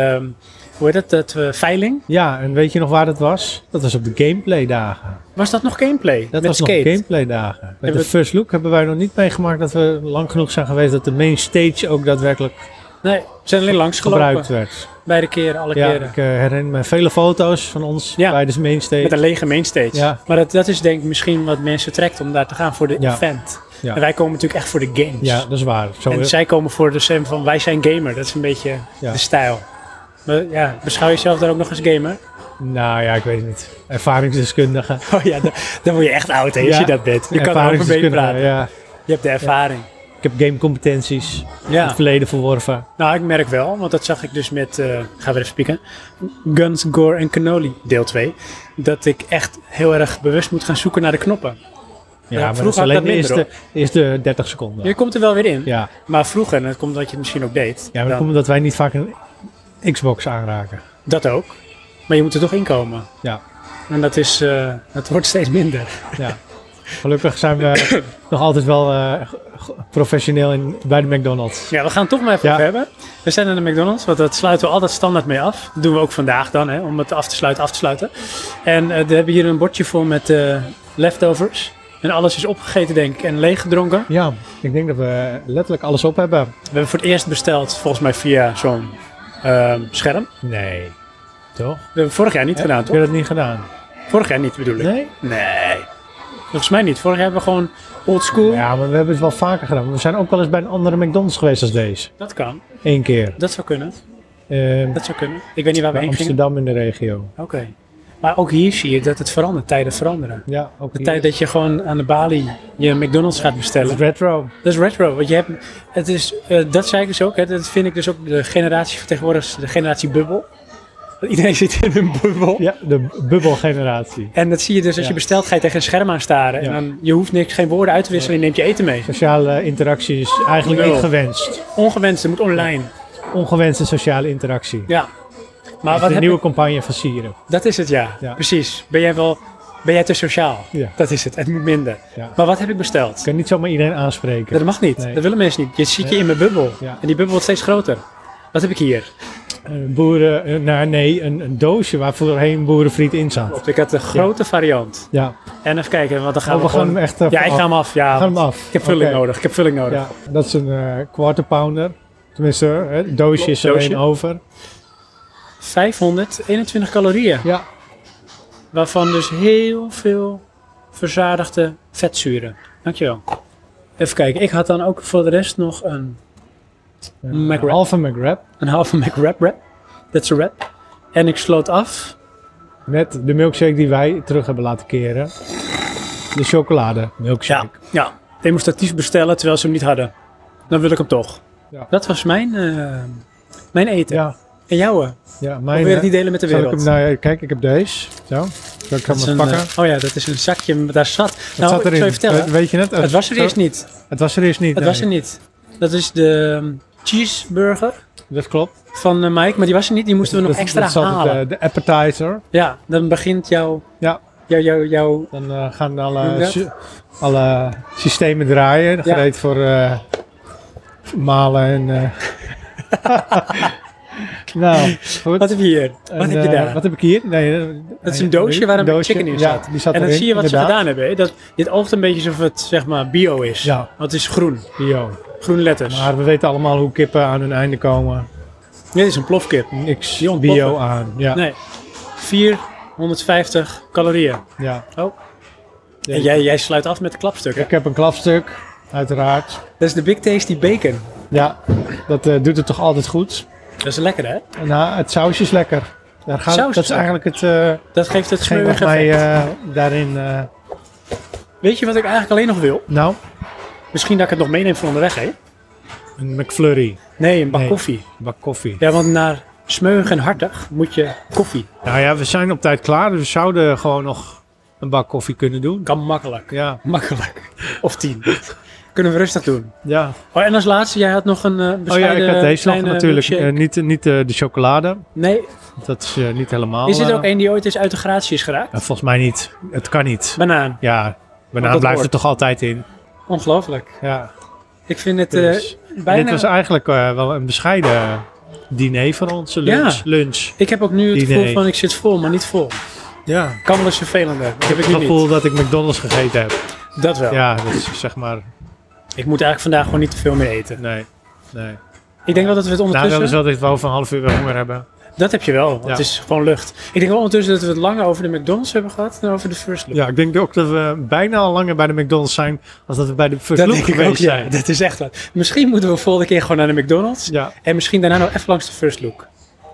hoe heet dat, dat eh, veiling.
Ja, en weet je nog waar dat was? Dat was op de gameplay dagen.
Was dat nog gameplay?
Dat
met
was
skate.
nog gameplay dagen. Met
Hebben
de
we-
first look hebben wij nog niet meegemaakt dat we lang genoeg zijn geweest dat de main stage ook daadwerkelijk
Nee, we zijn alleen langs gelopen.
gebruikt werd.
Beide keren, alle
Ja,
keren.
ik eh, herinner me vele foto's van ons
Ja.
bij de main stage.
Met een lege mainstage.
Ja.
Maar dat, dat is denk ik misschien wat mensen trekt om daar te gaan voor de
Ja.
event.
Ja.
En wij komen natuurlijk echt voor de games.
Ja, dat is waar. Zo
en zij komen voor de sem van wij zijn gamer. Dat is een beetje
Ja.
de stijl. Maar ja, beschouw jezelf daar ook nog als gamer?
Nou ja, ik weet het niet. Ervaringsdeskundige.
Oh ja, dan, dan word je echt oud hè, als
Ja.
je dat bent. Je kan erover mee
Ervaringsdeskundige,
praten.
Ja.
Je hebt de ervaring.
Ik heb gamecompetenties in
Ja.
het verleden verworven.
Nou, ik merk wel, want dat zag ik dus met, eh ga weer even spieken, Guns, Gore en Cannoli, deel 2. Dat ik echt heel erg bewust moet gaan zoeken naar de knoppen.
Ja,
Ja,
maar dat is
vroeger
alleen
had
de
ik dat
eerste,
minder,
eerste 30 seconden.
Je komt er wel weer in.
Ja,
Maar vroeger, en dat komt dat je het misschien ook deed,
ja maar dat
dan-
komt omdat wij niet vaak een Xbox aanraken.
dat ook. Maar je moet er toch inkomen.
Ja.
En dat, is, eh, dat wordt steeds minder.
Ja. Gelukkig zijn we nog altijd wel eh, g- g- professioneel in, bij de McDonald's.
Ja, we gaan het toch maar even
Ja.
over hebben. We zijn aan de McDonald's, want dat sluiten we altijd standaard mee af. Dat doen we ook vandaag dan, hè, om het af te sluiten, af te sluiten. En eh, we hebben hier een bordje vol met eh, leftovers. En alles is opgegeten, denk ik, en leeggedronken.
Ja, ik denk dat we letterlijk alles op hebben.
We hebben voor het eerst besteld, volgens mij via zo'n ehm, scherm. We
Nee. Toch?
hebben vorig jaar niet gedaan,
Heb je
toch?
dat niet gedaan?
Vorig jaar niet bedoel ik.
Nee?
Nee. Volgens mij niet. Vorig jaar hebben we gewoon old school.
Ja, maar we hebben het wel vaker gedaan. We zijn ook wel eens bij een andere McDonald's geweest als deze.
Dat kan.
Eén keer.
Dat zou kunnen.
Ehm,
Dat zou kunnen. Ik weet niet waar we
bij
heen gingen.
Amsterdam in de regio.
Oké. Maar ook hier zie je dat het verandert. Tijden veranderen.
Ja, ook
De
hier.
tijd dat je gewoon aan de balie je McDonald's gaat
Het
bestellen.
is retro.
Dat is retro. Want je hebt, het is, eh, dat zei ik dus ook. Hè, dat vind ik dus ook de generatie vertegenwoordigt de generatie bubbel. Want iedereen zit in hun bubbel.
Ja, de bubbelgeneratie.
En dat zie je dus als
Ja.
je bestelt, ga je tegen een scherm aan staren. En
Ja.
dan, je hoeft niks, geen woorden uit te wisselen, je neemt je eten mee.
Sociale interactie is eigenlijk
Nul.
niet gewenst.
Ongewenst, het moet online.
Ongewenste sociale interactie.
Ja. Maar
Maar
wat
de
heb
nieuwe
je-
campagne van Sieren.
Dat is het, ja.
Ja.
Precies. Ben jij wel... Ben jij te sociaal?
Ja.
Dat is het. Het moet minder.
Ja.
Maar wat heb ik besteld?
Je kan niet zomaar iedereen aanspreken.
Dat mag niet.
Nee.
Dat willen mensen niet. Je ziet je
Nee.
in mijn bubbel.
Ja.
En die bubbel wordt steeds groter. Wat heb ik hier?
Een boeren, eh, nou, nee, een, een doosje waar voorheen boerenfriet in zat.
Ik had een grote variant.
Ja,
En even kijken, want dan gaan
Oh,
we,
we gaan
gewoon-
hem echt eh,
Ja, ik
af-
ga hem af. Ja,
we gaan hem
want
af.
Ik heb vulling
Oké.
nodig. Ik heb vulling nodig.
Ja, dat is een eh quarter pounder. Tenminste, hè, het doosje is er
Doosje.
één over.
521 calorieën.
Ja.
Waarvan dus heel veel verzadigde vetzuren. Dankjewel. Even kijken. Ik had dan ook voor de rest nog een,
Een
McWrap.
halve McWrap
een halve McWrap wrap. That's a wrap. En ik sloot af.
met de milkshake die wij terug hebben laten keren. De chocolade milkshake.
Ja. Demonstratief bestellen terwijl ze hem niet hadden. Dan wil ik hem toch.
Ja.
Dat was mijn, eh, mijn eten.
Ja,
En jouwe.
ja,
Probeer
mijn... eh,
het niet delen met de
zal ik
wereld.
hem, nou ja, kijk, ik heb deze. Zo, zal ik
Dat
hem
is
eens
een,
pakken?
eh, oh ja, dat is een zakje. Daar zat.
Wat
nou,
zat
ik
erin?
zal je vertellen.
Eh, weet je het?
het was er eerst niet. Het
Het was er eerst niet.
was er
nee.
niet. Dat is de ehm, cheeseburger
Dat klopt.
van eh, Mike. Maar die was er niet. Die moesten we nog
Dat-
extra
dat zat het,
halen.
eh, de appetizer.
ja, dan begint jouw...
Ja.
Jouw, jouw, jouw...
Dan eh, gaan
Noem
alle,
dat?
sy- alle systemen draaien.
Ja.
Gereed voor eh, malen en. eh. nou, goed.
Wat heb je hier? Wat
En,
heb je
eh,
daar?
wat heb ik hier? Nee, eh,
dat is
nee,
een doosje waar een chicken in
ja,
zat.
die zat
en dan
erin,
zie je wat ze
inderdaad.
gedaan hebben. hè. Dat, dit oogt een beetje alsof het zeg maar bio is.
Ja.
Want het is groen.
Bio.
Groene letters.
Maar we weten allemaal hoe kippen aan hun einde komen.
Dit is een plofkip.
Niks
Die ontploffen.
bio aan. Ja,
Nee. 450 calorieën. Oh.
ja.
En jij, jij sluit af met klapstukken.
Ik heb een klapstuk, uiteraard.
Dat is de Big Tasty Bacon.
Ja, dat eh, doet het toch altijd goed.
Dat is lekker, hè?
Nou, het sausje is lekker. Daar gaat,
Saus
dat
is
is eigenlijk het, eh,
Dat geeft het
hetgeen wat
smeuïge
mij
effect.
eh, daarin... eh,
Weet je wat ik eigenlijk alleen nog wil?
nou,
Misschien dat ik het nog meeneem voor onderweg, hè?
een McFlurry,
Nee, een bak
Nee.
koffie.
een bak koffie.
Ja, want naar smeuig en hartig moet je koffie.
Nou ja, we zijn op tijd klaar, dus we zouden gewoon nog een bak koffie kunnen doen.
Kan makkelijk.
Ja,
Makkelijk. Of tien. Kunnen we rustig doen.
ja.
Oh, en als laatste, jij had nog een eh
Oh ja,
bescheiden
ik had deze nog
kleine
natuurlijk.
milkshake.
eh, niet niet eh, de chocolade,
nee,
dat is eh, niet helemaal...
is dit
eh,
ook één die ooit eens uit de gratie is geraakt?
eh, volgens mij niet. Het kan niet.
Banaan.
Ja,
dat
banaan blijft er
hoort.
toch altijd in.
Ongelooflijk.
Ja,
Ik vind het eh,
dus.
bijna...
Dit was eigenlijk eh, wel een bescheiden diner voor onze lunch.
Ja.
lunch.
Ik heb ook nu het
Idee.
gevoel van ik zit vol, maar niet vol.
Ja.
Kan wel eens vervelender. Dat heb ik
Ik heb
nu
het
niet.
gevoel dat ik McDonald's gegeten heb.
Dat wel.
Ja, dat is zeg maar.
Ik moet eigenlijk vandaag gewoon niet te veel meer eten.
Nee. Nee.
Ik denk wel dat we het
Nou, wel
ondertussen...
is wel dat we over een half uur weer honger hebben.
Dat heb je wel, want
Ja.
het is gewoon lucht. Ik denk wel ondertussen dat we het langer over de McDonald's hebben gehad dan over de First Look.
Ja, ik denk ook dat we bijna al langer bij de McDonald's zijn. als dat we bij de First
dat
Loop
denk ik
geweest
ook, ja.
zijn.
Dat is echt wat. Misschien moeten we volgende keer gewoon naar de McDonald's.
Ja,
En misschien daarna nog even langs de First Look.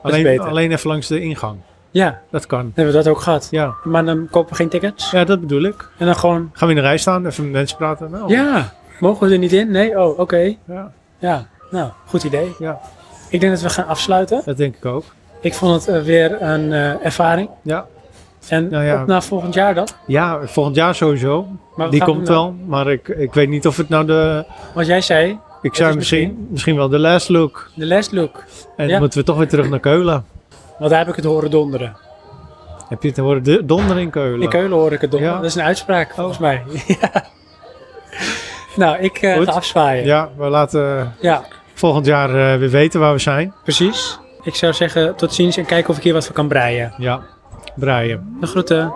alleen,
beter.
alleen even langs de ingang.
Ja, dan
Dat kan.
hebben we dat ook gehad.
Ja,
Maar dan kopen we geen tickets.
ja dat bedoel ik.
En dan gewoon...
Gaan we in de rij staan, even met mensen praten? Nou,
Ja, mogen we er niet in? Nee? Oh, oké.
ja,
Ja, nou, goed idee.
Ja.
Ik denk dat we gaan afsluiten.
dat denk ik ook.
Ik vond het eh, weer een eh, ervaring.
Ja,
En
Nou ja.
op naar volgend jaar dan.
ja volgend jaar sowieso.
Maar we
Die
gaan
komt
hem dan-
wel, maar ik, ik weet niet of het nou de...
Want jij zei,
Ik zou
is
misschien,
misschien-
misschien... wel de last look.
de last look.
En
Ja.
dan moeten we toch weer terug naar Keulen.
Want daar heb ik het horen donderen.
Heb je het horen? De- Donder in Keulen.
In Keulen hoor ik het donderen.
Ja. Oh.
Dat is een uitspraak, volgens mij. Ja. Nou, ik eh,
Goed.
ga afzwaaien. Ja.
Ja, we laten volgend jaar eh, weer weten waar we zijn.
precies. Ik zou zeggen tot ziens en kijken of ik hier wat voor kan breien.
Ja, Brian.
De groeten.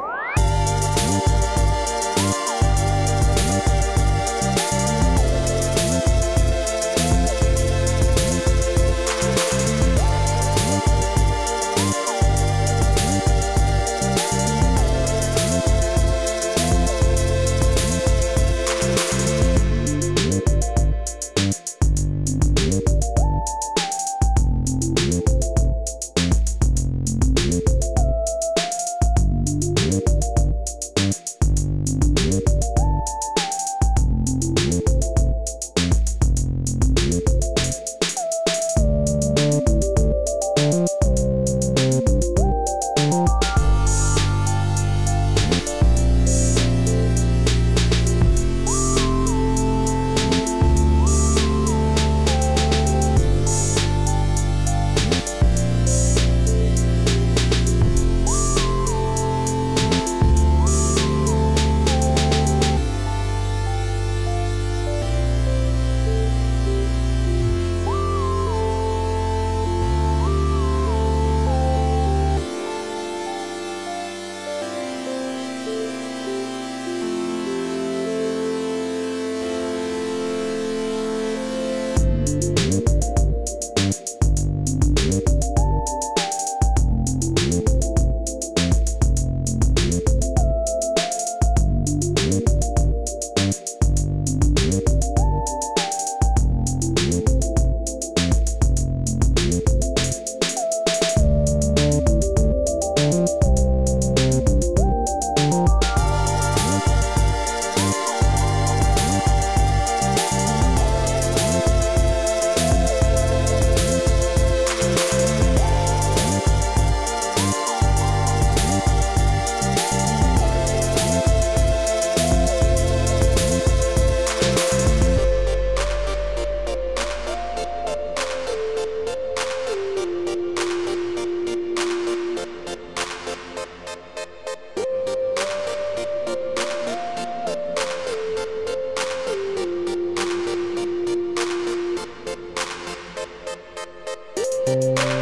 Thanks.